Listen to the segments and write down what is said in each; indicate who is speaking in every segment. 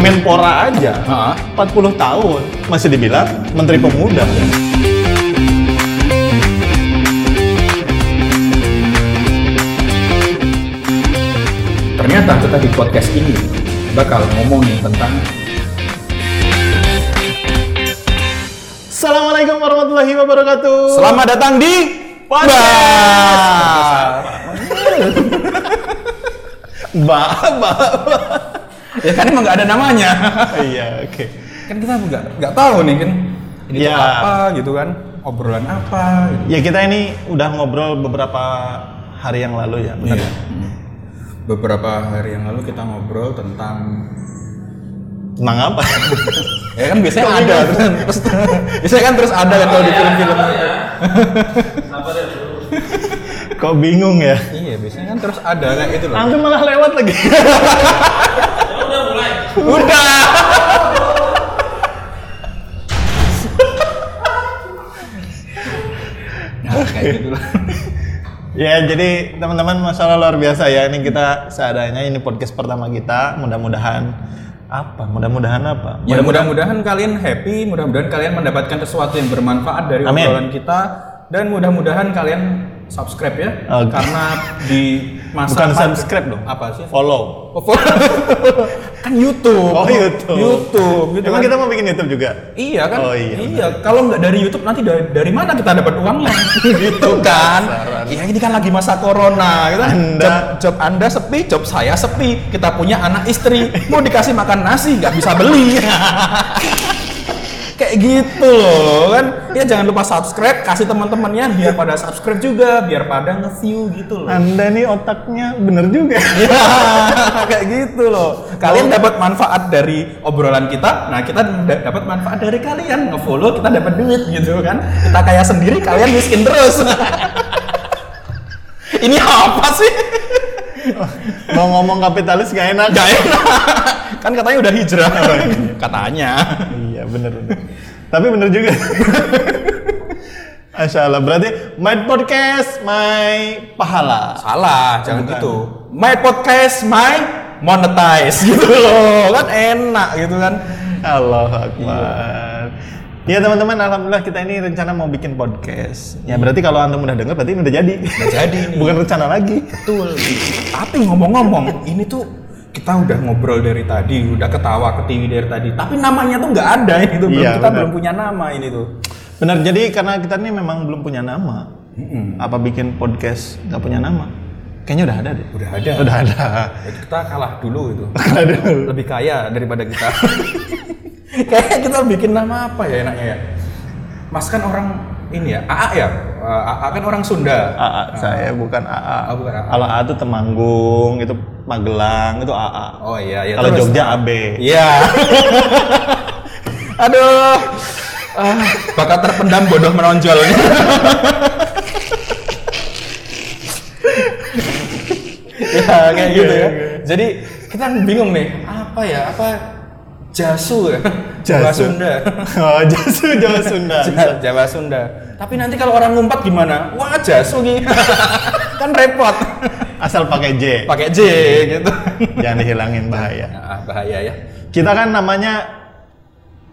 Speaker 1: Menpora aja
Speaker 2: Ha?
Speaker 1: 40 tahun masih dibilang Menteri Pemuda.
Speaker 2: Ternyata kita di podcast ini bakal ngomongin tentang
Speaker 1: Assalamualaikum warahmatullahi wabarakatuh.
Speaker 2: Selamat datang di
Speaker 1: Podcast. Mbak, Mbak.
Speaker 2: Ya kan emang nggak ada namanya.
Speaker 1: Iya, oke.
Speaker 2: kan kita nggak nggak tahu nih kan ini tuh
Speaker 1: Ya.
Speaker 2: apa gitu kan obrolan apa gitu.
Speaker 1: Ya kita ini udah ngobrol beberapa hari yang lalu ya, benar.
Speaker 2: Iya.
Speaker 1: ya?
Speaker 2: Beberapa hari yang lalu kita ngobrol tentang
Speaker 1: Tentang apa?
Speaker 2: ya kan biasanya ada terus, terus biasanya kan terus ada kan kalau di film-film.
Speaker 1: Kok bingung ya?
Speaker 2: Iya, biasanya kan terus ada kayak gitu loh.
Speaker 1: Antum malah lewat lagi.
Speaker 2: Udah. nah, kayak gitu lah.
Speaker 1: Ya, jadi teman-teman masalah luar biasa ya. Ini kita seadanya ini podcast pertama kita. Mudah-mudahan apa? Mudah-mudahan apa?
Speaker 2: Ya, mudah-mudahan kalian happy, mudah-mudahan kalian mendapatkan sesuatu yang bermanfaat dari
Speaker 1: Amin.
Speaker 2: obrolan kita dan mudah-mudahan kalian subscribe ya
Speaker 1: Oke.
Speaker 2: karena di masa
Speaker 1: Bukan
Speaker 2: pandemi-
Speaker 1: subscribe dong.
Speaker 2: apa sih?
Speaker 1: Follow.
Speaker 2: Oh, follow. kan YouTube.
Speaker 1: Oh, YouTube.
Speaker 2: YouTube gitu
Speaker 1: Emang
Speaker 2: kan.
Speaker 1: kita mau bikin YouTube juga?
Speaker 2: Iya kan?
Speaker 1: Oh, iya,
Speaker 2: kalau nggak dari YouTube nanti dari, dari mana kita dapat uangnya? gitu kan?
Speaker 1: Saran.
Speaker 2: Iya ini kan lagi masa corona, gitu kan?
Speaker 1: Anda-
Speaker 2: Job, job Anda sepi, job saya sepi. Kita punya anak istri, mau dikasih makan nasi nggak bisa beli. Kayak gitu loh kan? Ya jangan lupa subscribe, kasih teman-temannya biar pada subscribe juga, biar pada nge-view gitu loh.
Speaker 1: Anda nih otaknya bener juga.
Speaker 2: Ya, kayak gitu loh. Kalian dapat manfaat dari obrolan kita, nah kita d- dapat manfaat dari kalian. Ngefollow kita dapat duit gitu kan. Kita kaya sendiri, kalian miskin terus. Ini apa sih?
Speaker 1: mau ngomong kapitalis gak enak.
Speaker 2: Gak enak. Kan katanya udah hijrah. Katanya.
Speaker 1: iya bener. bener. Tapi bener juga. Masya Allah, berarti my podcast, my pahala.
Speaker 2: Salah, jangan gitu. My podcast, my monetize gitu loh. Kan enak gitu kan.
Speaker 1: Allah Akbar. Ya teman-teman, alhamdulillah kita ini rencana mau bikin podcast. Ya berarti kalau antum udah denger berarti ini udah jadi.
Speaker 2: Udah jadi nih.
Speaker 1: Bukan rencana lagi.
Speaker 2: Betul. Tapi ngomong-ngomong, ini tuh kita udah ngobrol dari tadi, udah ketawa ketiwi dari tadi. Tapi namanya tuh nggak ada ini tuh. Belum,
Speaker 1: Iya,
Speaker 2: kita
Speaker 1: benar.
Speaker 2: belum punya nama ini tuh.
Speaker 1: Benar, jadi karena kita ini memang belum punya nama. Apa bikin podcast nggak punya nama? Kayaknya udah ada deh.
Speaker 2: Udah ada.
Speaker 1: Udah ada.
Speaker 2: Ya, Kita kalah dulu itu.
Speaker 1: Aduh.
Speaker 2: Lebih kaya daripada kita. Kayak kita bikin nama apa ya enaknya ya? Mas kan orang ini ya, AA ya? Eh, AA kan orang Sunda.
Speaker 1: AA, saya bukan AA.
Speaker 2: Oh, bukan AA.
Speaker 1: Kalau AA itu Temanggung, itu Magelang, itu AA.
Speaker 2: Oh iya, ya
Speaker 1: Kalau
Speaker 2: terus.
Speaker 1: Jogja AB.
Speaker 2: Iya. Aduh. Ah, bakat terpendam bodoh menonjol. ya kayak gitu ya. Jadi kita bingung nih, apa ya? Apa jasu ya? Jawa
Speaker 1: Jasu.
Speaker 2: Sunda.
Speaker 1: oh, Jasu Jawa Sunda.
Speaker 2: Ja- Jawa Sunda. Tapi nanti kalau orang ngumpat gimana? Wah, jasu gitu. kan repot.
Speaker 1: Asal pakai J.
Speaker 2: Pakai J gitu.
Speaker 1: Jangan dihilangin bahaya.
Speaker 2: Ah, bahaya ya.
Speaker 1: Kita kan namanya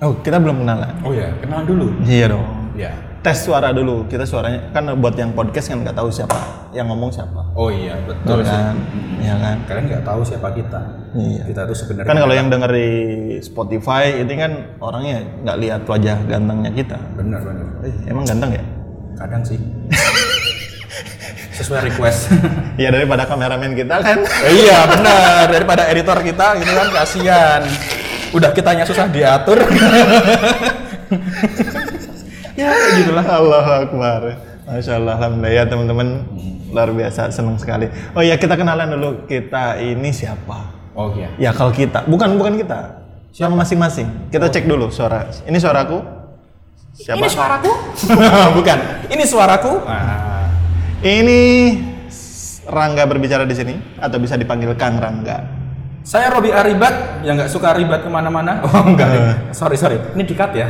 Speaker 1: Oh, kita belum kenalan.
Speaker 2: Oh ya, kenalan dulu.
Speaker 1: Iya dong.
Speaker 2: Ya.
Speaker 1: Tes suara dulu. Kita suaranya kan buat yang podcast kan nggak tahu siapa yang ngomong siapa.
Speaker 2: Oh iya
Speaker 1: Betul
Speaker 2: betul sih.
Speaker 1: kan? Iya kan?
Speaker 2: Kalian nggak tahu siapa kita.
Speaker 1: Iya.
Speaker 2: Kita tuh sebenarnya.
Speaker 1: Kan kalau yang denger di Spotify itu kan orangnya nggak lihat wajah gantengnya kita.
Speaker 2: benar benar.
Speaker 1: Eh, emang ganteng ya?
Speaker 2: Kadang sih. Sesuai request.
Speaker 1: Ya daripada kameramen kita kan.
Speaker 2: iya benar daripada editor kita gitu kan kasihan. Udah kitanya susah diatur. ya kayak gitu.
Speaker 1: Allah Akbar. Masya Allah, alhamdulillah ya teman-teman luar biasa senang sekali. Oh ya kita kenalan dulu kita ini siapa?
Speaker 2: Oh iya.
Speaker 1: Ya kalau kita, bukan bukan kita. Siapa masing-masing. Kita
Speaker 2: Oh.
Speaker 1: cek dulu suara. Ini suaraku. Siapa?
Speaker 2: Ini suaraku? Bukan. Ini suaraku.
Speaker 1: Ini s- Rangga berbicara di sini atau bisa dipanggil Kang Rangga.
Speaker 2: Saya Robi Aribat yang nggak suka ribat kemana-mana. Oh enggak,
Speaker 1: Eh.
Speaker 2: sorry sorry, ini dikat ya.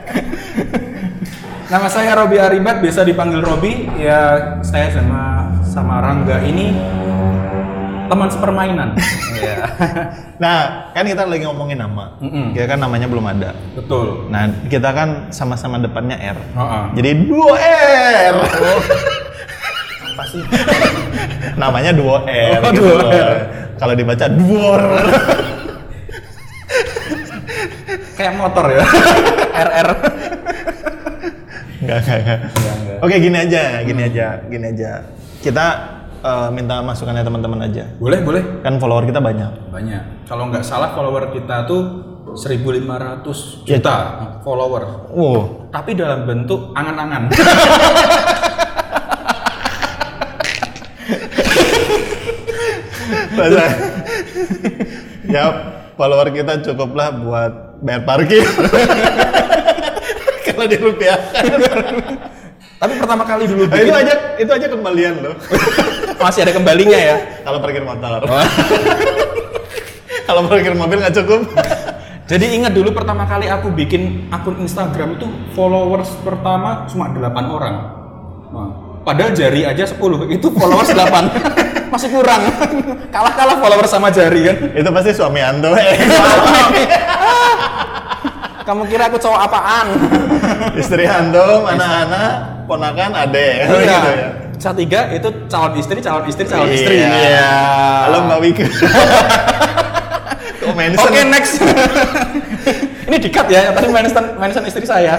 Speaker 2: Nama saya Robi Aribat, biasa dipanggil Robi. Ya saya sama sama Rangga ini teman sepermainan. Iya.
Speaker 1: Nah, kan kita lagi ngomongin nama.
Speaker 2: Mm-mm.
Speaker 1: Kita kan namanya belum ada.
Speaker 2: Betul.
Speaker 1: Nah, kita kan sama-sama depannya R.
Speaker 2: Heeh.
Speaker 1: Jadi duo R.
Speaker 2: Oh.
Speaker 1: namanya duo R.
Speaker 2: Oh,
Speaker 1: gitu
Speaker 2: duo
Speaker 1: loh.
Speaker 2: R.
Speaker 1: Kalau dibaca duor.
Speaker 2: Kayak motor ya. RR.
Speaker 1: Enggak, enggak, Iya, enggak. Oke, gini aja,
Speaker 2: Hmm.
Speaker 1: gini aja, gini aja. Kita eh, minta masukannya teman-teman aja.
Speaker 2: Boleh, boleh.
Speaker 1: Kan follower kita banyak.
Speaker 2: Banyak. Kalau nggak salah follower kita tuh 1500
Speaker 1: Ya.
Speaker 2: juta follower.
Speaker 1: Wow,
Speaker 2: Tapi dalam bentuk angan-angan.
Speaker 1: Masa? ya follower kita cukuplah buat bayar parkir. Kalau di rupiah.
Speaker 2: Tapi pertama kali dulu
Speaker 1: Nah, itu aja itu aja kembalian loh.
Speaker 2: masih ada kembalinya ya.
Speaker 1: Kalau parkir motor.
Speaker 2: Oh.
Speaker 1: Kalau parkir mobil nggak cukup.
Speaker 2: Jadi ingat dulu pertama kali aku bikin akun Instagram itu followers pertama cuma 8 orang. Nah, padahal jari aja 10, itu followers 8. Masih kurang. Kalah-kalah followers sama jari kan.
Speaker 1: itu pasti suami Ando. eh.
Speaker 2: Kamu kira aku cowok apaan?
Speaker 1: Istri Ando, anak-anak, ponakan ade.
Speaker 2: Iya.
Speaker 1: Gitu ya.
Speaker 2: Ketiga itu calon istri, calon istri, calon istri.
Speaker 1: Iya.
Speaker 2: Iya.
Speaker 1: Halo Mbak Wika. Kok mention?
Speaker 2: Oke, next. Ini dikat ya, tadi mention mention istri saya.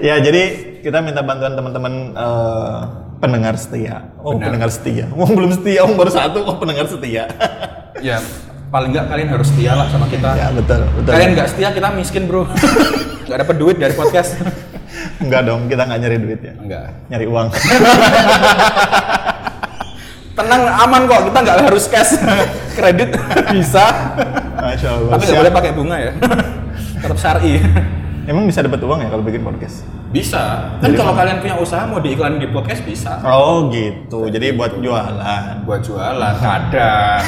Speaker 1: Ya, jadi kita minta bantuan teman-teman eh, pendengar setia. Oh,
Speaker 2: Benar.
Speaker 1: pendengar setia. Wong belum setia, wong baru satu, oh pendengar setia.
Speaker 2: ya, paling nggak kalian harus setia lah sama kita.
Speaker 1: ya, betul, betul.
Speaker 2: Ah. Kalian nggak setia kita miskin bro. Nggak dapat duit dari podcast.
Speaker 1: Enggak dong, kita nggak nyari duit ya.
Speaker 2: Enggak.
Speaker 1: Nyari uang.
Speaker 2: Tenang aman kok kita nggak harus cash. Kredit bisa.
Speaker 1: Masya Allah.
Speaker 2: Tapi nggak
Speaker 1: Siap.
Speaker 2: boleh pakai bunga ya. Tetap syari.
Speaker 1: Emang bisa dapat uang ya kalau bikin podcast?
Speaker 2: Bisa. Kan kalau kalian punya usaha mau diiklanin di podcast bisa.
Speaker 1: Oh gitu. Jadi buat jualan.
Speaker 2: Buat jualan kadang.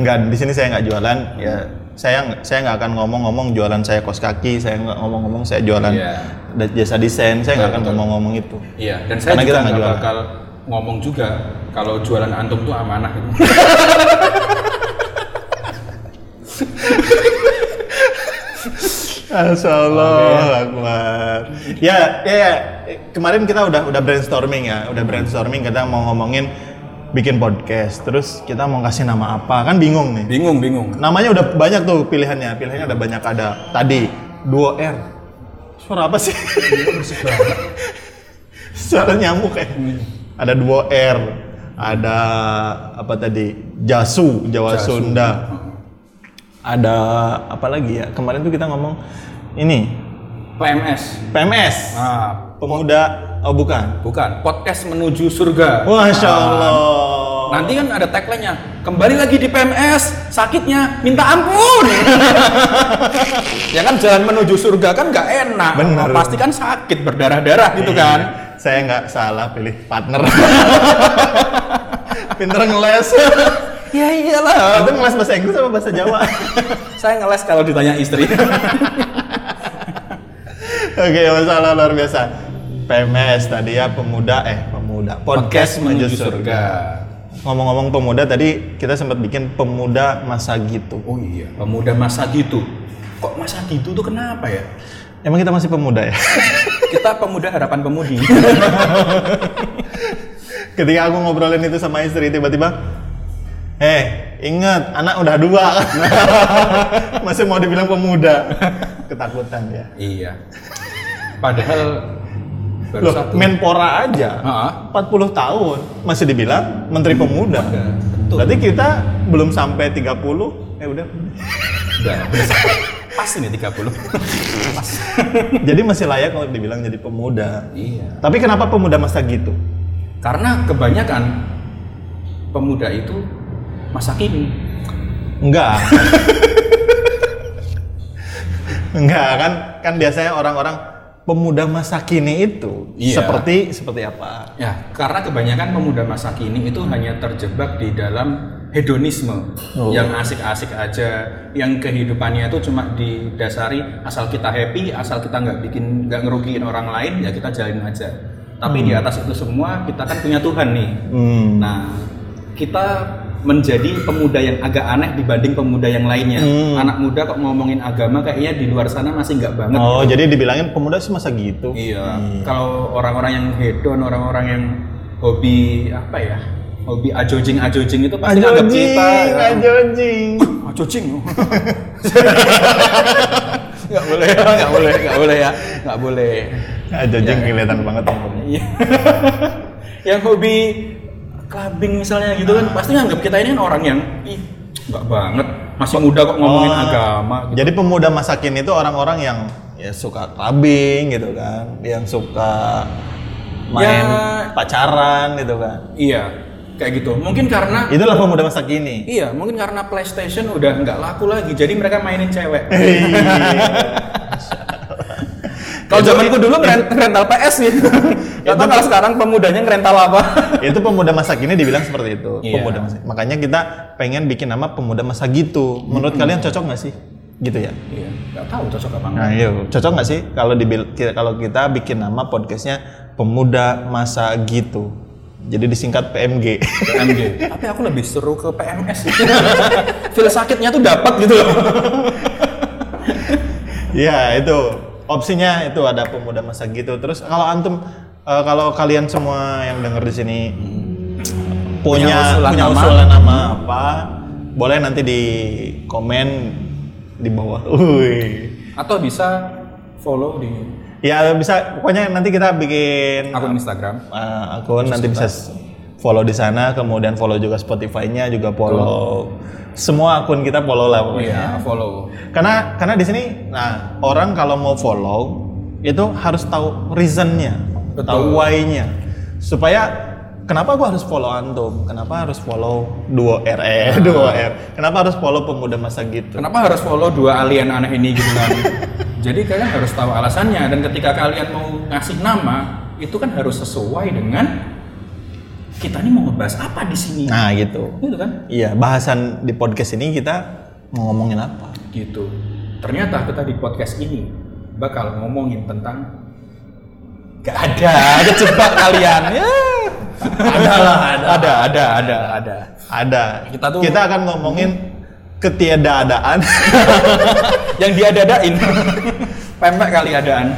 Speaker 1: Enggak, di sini saya nggak jualan. Ya, saya nggak- saya nggak akan ngomong-ngomong jualan saya kos kaki. Saya nggak ngomong-ngomong saya jualan
Speaker 2: Iya.
Speaker 1: da- jasa desain. Saya nggak akan
Speaker 2: Betul.
Speaker 1: ngomong-ngomong itu.
Speaker 2: Iya. Dan saya
Speaker 1: Karena kita
Speaker 2: juga
Speaker 1: nggak
Speaker 2: nggak
Speaker 1: jualan.
Speaker 2: bakal ngomong juga kalau jualan antum tuh amanah gitu.
Speaker 1: Masya Allah, Akbar. Ya, ya, ya. Kemarin kita udah udah brainstorming ya, udah brainstorming kita mau ngomongin bikin podcast. Terus kita mau kasih nama apa? Kan bingung nih.
Speaker 2: Bingung bingung.
Speaker 1: Namanya udah banyak tuh pilihannya. Pilihannya ada banyak ada. Tadi duo R. Suara apa sih? Suara nyamuk ya. Ada duo R. Ada apa tadi? Jasu, Jawa
Speaker 2: Jasu.
Speaker 1: Sunda. Ada apa lagi ya? Kemarin tuh kita ngomong ini
Speaker 2: PMS.
Speaker 1: PMS.
Speaker 2: Ah,
Speaker 1: Pemuda oh bukan.
Speaker 2: bukan. Podcast menuju surga.
Speaker 1: Masya
Speaker 2: Ah.
Speaker 1: Allah.
Speaker 2: Nanti kan ada tagline-nya, kembali lagi di PMS, sakitnya minta ampun. ya kan jalan menuju surga kan nggak enak.
Speaker 1: Bener.
Speaker 2: Pasti kan sakit berdarah-darah gitu kan.
Speaker 1: Saya nggak salah pilih partner. Pinter ngeles.
Speaker 2: Ya iyalah.
Speaker 1: Itu ngeles bahasa Inggris sama bahasa Jawa?
Speaker 2: Saya ngeles kalau ditanya istri.
Speaker 1: Oke, masalah luar biasa. PMS tadi ya pemuda eh pemuda podcast, menuju surga. Ngomong-ngomong pemuda tadi kita sempat bikin pemuda masa gitu.
Speaker 2: Oh iya, pemuda masa gitu. Kok masa gitu tuh kenapa ya?
Speaker 1: Emang kita masih pemuda ya?
Speaker 2: Kita pemuda harapan pemudi.
Speaker 1: Ketika aku ngobrolin itu sama istri tiba-tiba, eh ingat anak udah dua, masih mau dibilang pemuda, ketakutan ya.
Speaker 2: iya. Padahal baru
Speaker 1: Loh,
Speaker 2: satu.
Speaker 1: Menpora aja,
Speaker 2: Ha-ha.
Speaker 1: 40 tahun masih dibilang Menteri Pemuda.
Speaker 2: Betul.
Speaker 1: Berarti kita belum sampai 30, eh udah.
Speaker 2: Udah, pas ini 30. Pas.
Speaker 1: jadi masih layak kalau dibilang jadi pemuda.
Speaker 2: Iya.
Speaker 1: Tapi kenapa pemuda masa gitu?
Speaker 2: Karena kebanyakan pemuda itu masa kini.
Speaker 1: Enggak. Enggak kan kan biasanya orang-orang pemuda masa kini itu
Speaker 2: Iya.
Speaker 1: seperti seperti apa?
Speaker 2: Ya, karena kebanyakan pemuda masa kini itu hanya terjebak di dalam hedonisme
Speaker 1: Oh.
Speaker 2: yang asik-asik aja, yang kehidupannya itu cuma didasari asal kita happy, asal kita nggak bikin nggak ngerugiin orang lain ya kita jalin aja. Tapi di atas itu semua kita kan punya Tuhan nih.
Speaker 1: Hmm.
Speaker 2: Nah, kita menjadi pemuda yang agak aneh dibanding pemuda yang lainnya.
Speaker 1: Hmm.
Speaker 2: Anak muda kok ngomongin agama kayaknya di luar sana masih nggak banget.
Speaker 1: Oh, jadi dibilangin pemuda sih masa gitu.
Speaker 2: Nah. Iya. Kalau orang-orang yang hedon, orang-orang yang hobi apa ya? Hobi ajojing ajojing itu pasti anggap
Speaker 1: Ajojing,
Speaker 2: kita
Speaker 1: ajojing.
Speaker 2: ajojing. Nggak boleh, ya, nggak boleh, nggak boleh ya, nggak boleh.
Speaker 1: Ajojing kelihatan banget ngomongnya.
Speaker 2: Iya. yang hobi clubbing misalnya gitu kan pasti nganggap kita ini kan orang yang ih nggak banget masih muda kok ngomongin
Speaker 1: Oh.
Speaker 2: agama gitu.
Speaker 1: Jadi pemuda masa kini itu orang-orang yang ya suka clubbing gitu kan, yang suka main
Speaker 2: Ya.
Speaker 1: pacaran gitu kan.
Speaker 2: Iya, kayak gitu. Mungkin karena
Speaker 1: Itulah pemuda masa kini.
Speaker 2: iya, mungkin karena PlayStation udah nggak laku lagi, jadi mereka mainin cewek. Kalau zamanku dulu ngeren- rental PS sih. Gak tau gitu. kalau sekarang pemudanya ngerental apa.
Speaker 1: itu pemuda masa kini dibilang seperti itu.
Speaker 2: Iya.
Speaker 1: Pemuda masa. Makanya kita pengen bikin nama pemuda masa gitu.
Speaker 2: Hmm.
Speaker 1: Menurut kalian cocok nggak sih? Gitu ya.
Speaker 2: Iya, nggak tahu cocok apa enggak.
Speaker 1: Nah, yuk. cocok nggak sih kalau dibil- ki- kalau kita bikin nama podcastnya pemuda masa gitu. Jadi disingkat PMG.
Speaker 2: PMG. Tapi aku lebih seru ke PMS. gitu. Feel sakitnya tuh dapat gitu loh.
Speaker 1: Iya itu opsinya itu ada pemuda masa gitu. Terus kalau antum eh, kalau kalian semua yang denger di sini punya
Speaker 2: Punya usulan
Speaker 1: punya
Speaker 2: nama.
Speaker 1: usulan nama apa, boleh nanti di komen di bawah. Uy.
Speaker 2: Atau bisa follow di
Speaker 1: Ya bisa pokoknya nanti kita bikin
Speaker 2: akun Instagram.
Speaker 1: uh, akun nanti bisa s- follow di sana, kemudian follow juga Spotify-nya, juga follow semua akun kita follow lah pokoknya.
Speaker 2: Iya, follow.
Speaker 1: Karena karena di sini nah orang kalau mau follow itu harus tahu reasonnya,
Speaker 2: Betul.
Speaker 1: tahu why-nya. Supaya kenapa gua harus follow antum? Kenapa harus follow duo R eh
Speaker 2: Ah.
Speaker 1: duo R? Kenapa harus follow pemuda masa gitu?
Speaker 2: Kenapa harus follow dua alien aneh ini gitu kan? Jadi kalian harus tahu alasannya dan ketika kalian mau ngasih nama itu kan harus sesuai dengan kita ini mau ngebahas apa di sini.
Speaker 1: Nah, gitu.
Speaker 2: Gitu kan?
Speaker 1: Iya, bahasan di podcast ini kita mau ngomongin apa?
Speaker 2: Gitu. Ternyata kita di podcast ini bakal ngomongin tentang gak ada, kejebak kalian. Ya. Ada lah, ada. ada, ada, ada, ada.
Speaker 1: Ada.
Speaker 2: Kita tuh-
Speaker 1: kita akan ngomongin ketiadaan.
Speaker 2: yang diadadain pempek kali adaan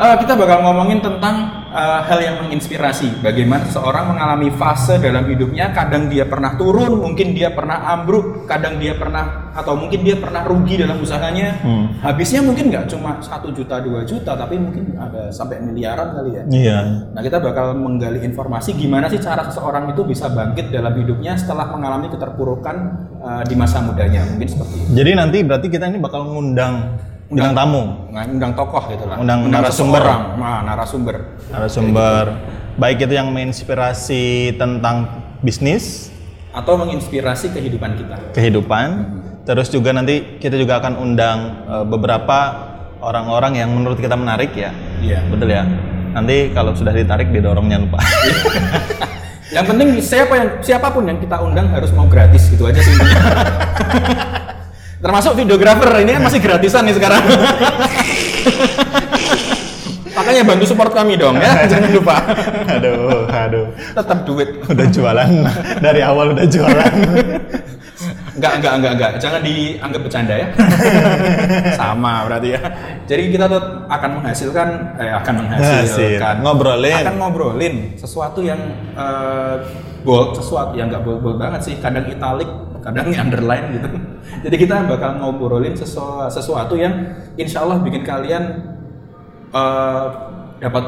Speaker 2: Eh, kita bakal ngomongin tentang eh, hal yang menginspirasi bagaimana seseorang mengalami fase dalam hidupnya kadang dia pernah turun mungkin dia pernah ambruk kadang dia pernah atau mungkin dia pernah rugi dalam usahanya
Speaker 1: Hmm.
Speaker 2: habisnya mungkin nggak cuma satu juta 2 juta tapi mungkin ada sampai miliaran kali ya
Speaker 1: iya.
Speaker 2: Nah, kita bakal menggali informasi gimana sih cara seseorang itu bisa bangkit dalam hidupnya setelah mengalami keterpurukan eh, di masa mudanya. Mungkin seperti itu.
Speaker 1: Jadi nanti berarti kita ini bakal ngundang bintang tamu,
Speaker 2: undang tokoh gitu lah
Speaker 1: Undang narasumber.
Speaker 2: seseorang. nah, narasumber
Speaker 1: narasumber. Baik itu yang menginspirasi tentang bisnis,
Speaker 2: atau menginspirasi kehidupan kita
Speaker 1: kehidupan. Terus juga nanti kita juga akan undang eh, beberapa orang-orang yang menurut kita menarik ya.
Speaker 2: iya
Speaker 1: Betul ya. Nanti kalau sudah ditarik didorong jangan lupa.
Speaker 2: yang penting siapa yang siapapun yang kita undang harus mau gratis gitu aja sih termasuk videografer ini kan masih gratisan nih sekarang makanya bantu support kami dong ya jangan lupa
Speaker 1: aduh, aduh.
Speaker 2: tetap duit
Speaker 1: Udah jualan dari awal udah jualan.
Speaker 2: Enggak, enggak, enggak, enggak. Jangan dianggap bercanda ya. Sama berarti ya. Jadi kita tuh akan menghasilkan, eh, akan menghasilkan,
Speaker 1: Hasil. kan. Ngobrolin.
Speaker 2: akan ngobrolin sesuatu yang eh, bold, sesuatu yang nggak bold-bold banget sih. Kadang italic, kadang underline gitu. Jadi kita bakal ngobrolin sesu- sesuatu yang insya Allah bikin kalian eh, dapat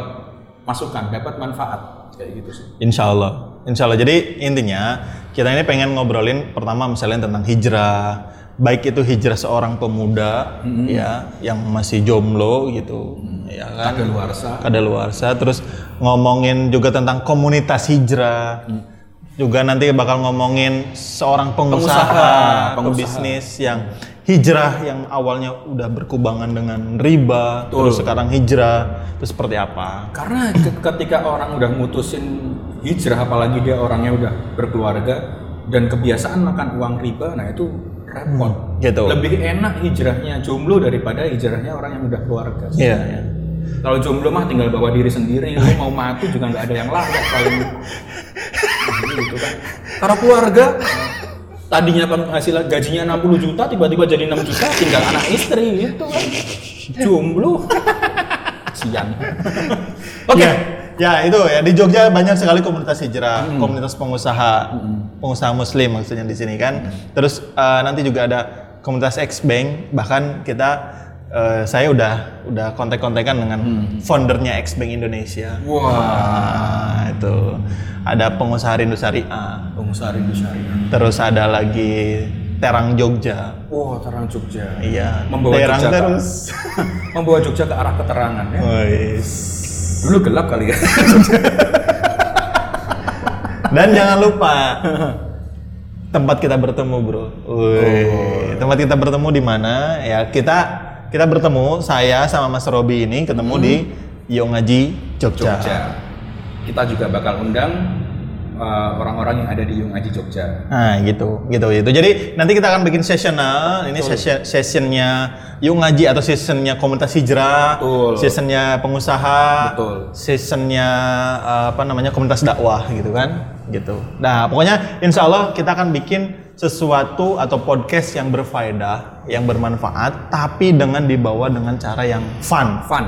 Speaker 2: masukan, dapat manfaat kayak gitu sih.
Speaker 1: Insya Allah. Insya Allah. Jadi intinya kita ini pengen ngobrolin pertama misalnya tentang hijrah, baik itu hijrah seorang pemuda ya yang masih jomblo gitu, ya kan.
Speaker 2: Kadaluarsa.
Speaker 1: Kadaluarsa. Terus ngomongin juga tentang komunitas hijrah.
Speaker 2: Mm.
Speaker 1: Juga nanti bakal ngomongin seorang pengusaha,
Speaker 2: Pengusaha, pengusaha.
Speaker 1: pebisnis yang hijrah yang awalnya udah berkubangan dengan riba, terus sekarang hijrah, terus seperti apa?
Speaker 2: Karena ke- ketika orang udah mutusin hijrah, apalagi dia orangnya udah berkeluarga dan kebiasaan makan uang riba, nah itu repot.
Speaker 1: Gitu.
Speaker 2: Lebih enak hijrahnya jomblo daripada hijrahnya orang yang udah keluarga.
Speaker 1: Iya, iya.
Speaker 2: Kalau jomblo mah tinggal bawa diri sendiri, lu mau mati juga nggak ada yang layak paling. gitu kan. Karena keluarga tadinya penghasilan gajinya 60 juta tiba-tiba jadi 6 juta tinggal anak istri gitu kan. Jomblo. Sian. Oke.
Speaker 1: Ya, ya itu ya di Jogja banyak sekali komunitas hijrah, komunitas pengusaha, pengusaha muslim maksudnya di sini kan. Terus eh, nanti juga ada komunitas X Bank, bahkan kita eh, saya udah udah kontak-kontakan dengan foundernya X Bank Indonesia.
Speaker 2: Wah,
Speaker 1: Nah, itu ada pengusaha Rindu Syariah.
Speaker 2: pengusaha rindu syariah.
Speaker 1: Terus ada lagi Terang Jogja.
Speaker 2: Wah, terang Jogja.
Speaker 1: Iya,
Speaker 2: Membawa
Speaker 1: Terang
Speaker 2: Jogja, Kak.
Speaker 1: terus.
Speaker 2: Membawa Jogja ke arah keterangan ya.
Speaker 1: Wis.
Speaker 2: Dulu gelap kali ya.
Speaker 1: Dan jangan lupa tempat kita bertemu, Bro. Wih, Tempat kita bertemu di mana? Ya, kita kita bertemu saya sama Mas Robi ini ketemu di Yongaji Jogja.
Speaker 2: Jogja. Kita juga bakal undang uh, orang-orang yang ada di Yung Aji Jogja.
Speaker 1: Nah, gitu. Gitu itu. Jadi nanti kita akan bikin sessional. Ini session sessionnya Yongaji atau sessionnya komunitas hijrah,
Speaker 2: Betul.
Speaker 1: sessionnya pengusaha,
Speaker 2: Betul.
Speaker 1: sessionnya eh, apa namanya komunitas dakwah gitu kan gitu nah pokoknya insya Allah kita akan bikin sesuatu atau podcast yang berfaedah yang bermanfaat tapi dengan dibawa dengan cara yang fun
Speaker 2: Fun.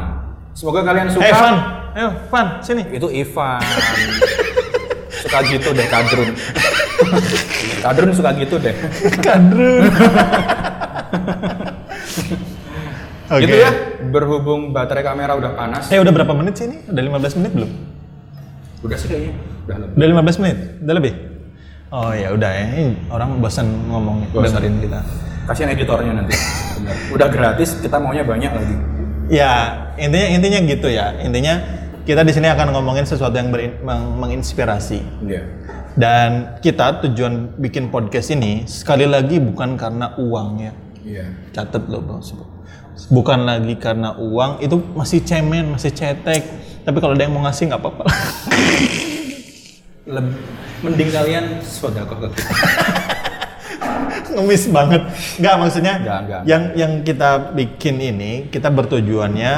Speaker 2: Semoga kalian suka.
Speaker 1: hey fun ayo fun sini
Speaker 2: Itu Ivan. suka gitu deh Kadrun. kadrun suka gitu deh.
Speaker 1: kadrun oke
Speaker 2: Gitu ya. Berhubung baterai kamera udah panas,
Speaker 1: eh udah berapa menit sih ini udah 15 menit belum
Speaker 2: udah sih kayaknya. Udah lebih.
Speaker 1: udah 15 menit udah lebih oh ya udah ya Ini orang bosan ngomong
Speaker 2: Bosan.
Speaker 1: dengerin kita
Speaker 2: Kasihan editornya nanti. Bener. Udah gratis, kita maunya banyak lagi.
Speaker 1: Ya, intinya intinya gitu ya. Intinya kita di sini akan ngomongin sesuatu yang berin- meng- menginspirasi.
Speaker 2: Iya.
Speaker 1: Dan kita tujuan bikin podcast ini sekali lagi bukan karena uang ya.
Speaker 2: Iya.
Speaker 1: Catat loh Bang. Bukan lagi karena uang, itu masih cemen, masih cetek. Tapi kalau ada yang mau ngasih nggak apa-apa.
Speaker 2: Leb- Mending kalian sodakoh ke kita.
Speaker 1: Ngemis banget. Nggak maksudnya
Speaker 2: Nggak, nggak.
Speaker 1: yang yang kita bikin ini kita bertujuannya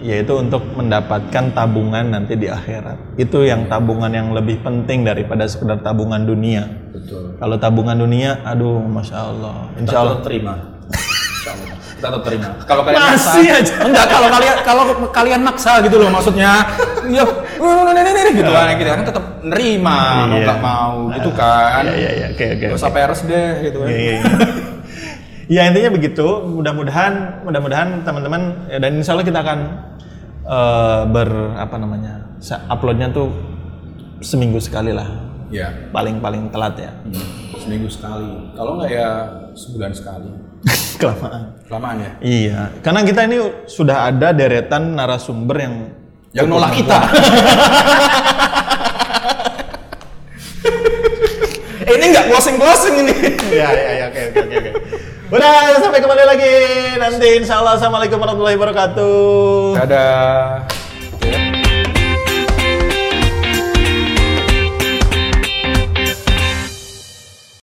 Speaker 1: yaitu untuk mendapatkan tabungan nanti di akhirat. Itu yang tabungan yang lebih penting daripada sekedar tabungan dunia.
Speaker 2: Betul.
Speaker 1: Kalau tabungan dunia, aduh, masya Allah, insya
Speaker 2: Kita
Speaker 1: Allah.
Speaker 2: tetap terima. Insya Allah. Kita tetap terima. Kalau kalian
Speaker 1: Masih
Speaker 2: maksa,
Speaker 1: aja.
Speaker 2: enggak kalau kalian kalau kalian maksa gitu loh maksudnya. Ya, gitu kan gitu kan tetap nerima, mau
Speaker 1: Iya.
Speaker 2: nggak mau gitu kan.
Speaker 1: Ya, ya, ya, oke, oke.
Speaker 2: Gak usah pers deh gitu kan.
Speaker 1: Ya, ya, ya. Ya, intinya begitu. Mudah-mudahan, mudah-mudahan teman-teman ya, dan insya Allah kita akan eh, ber apa namanya se- uploadnya tuh seminggu sekali lah,
Speaker 2: Iya.
Speaker 1: paling-paling telat ya.
Speaker 2: Hmm. Seminggu sekali. Kalau nggak ya sebulan sekali.
Speaker 1: Kelamaan.
Speaker 2: Kelamaan ya.
Speaker 1: Iya, karena kita ini sudah ada deretan narasumber yang
Speaker 2: Yang Ya nolak kita. Eh, ini nggak closing closing ini.
Speaker 1: ya ya ya oke oke oke oke. Udah sampai kembali lagi nanti insya Allah assalamualaikum warahmatullahi wabarakatuh.
Speaker 2: Dadah.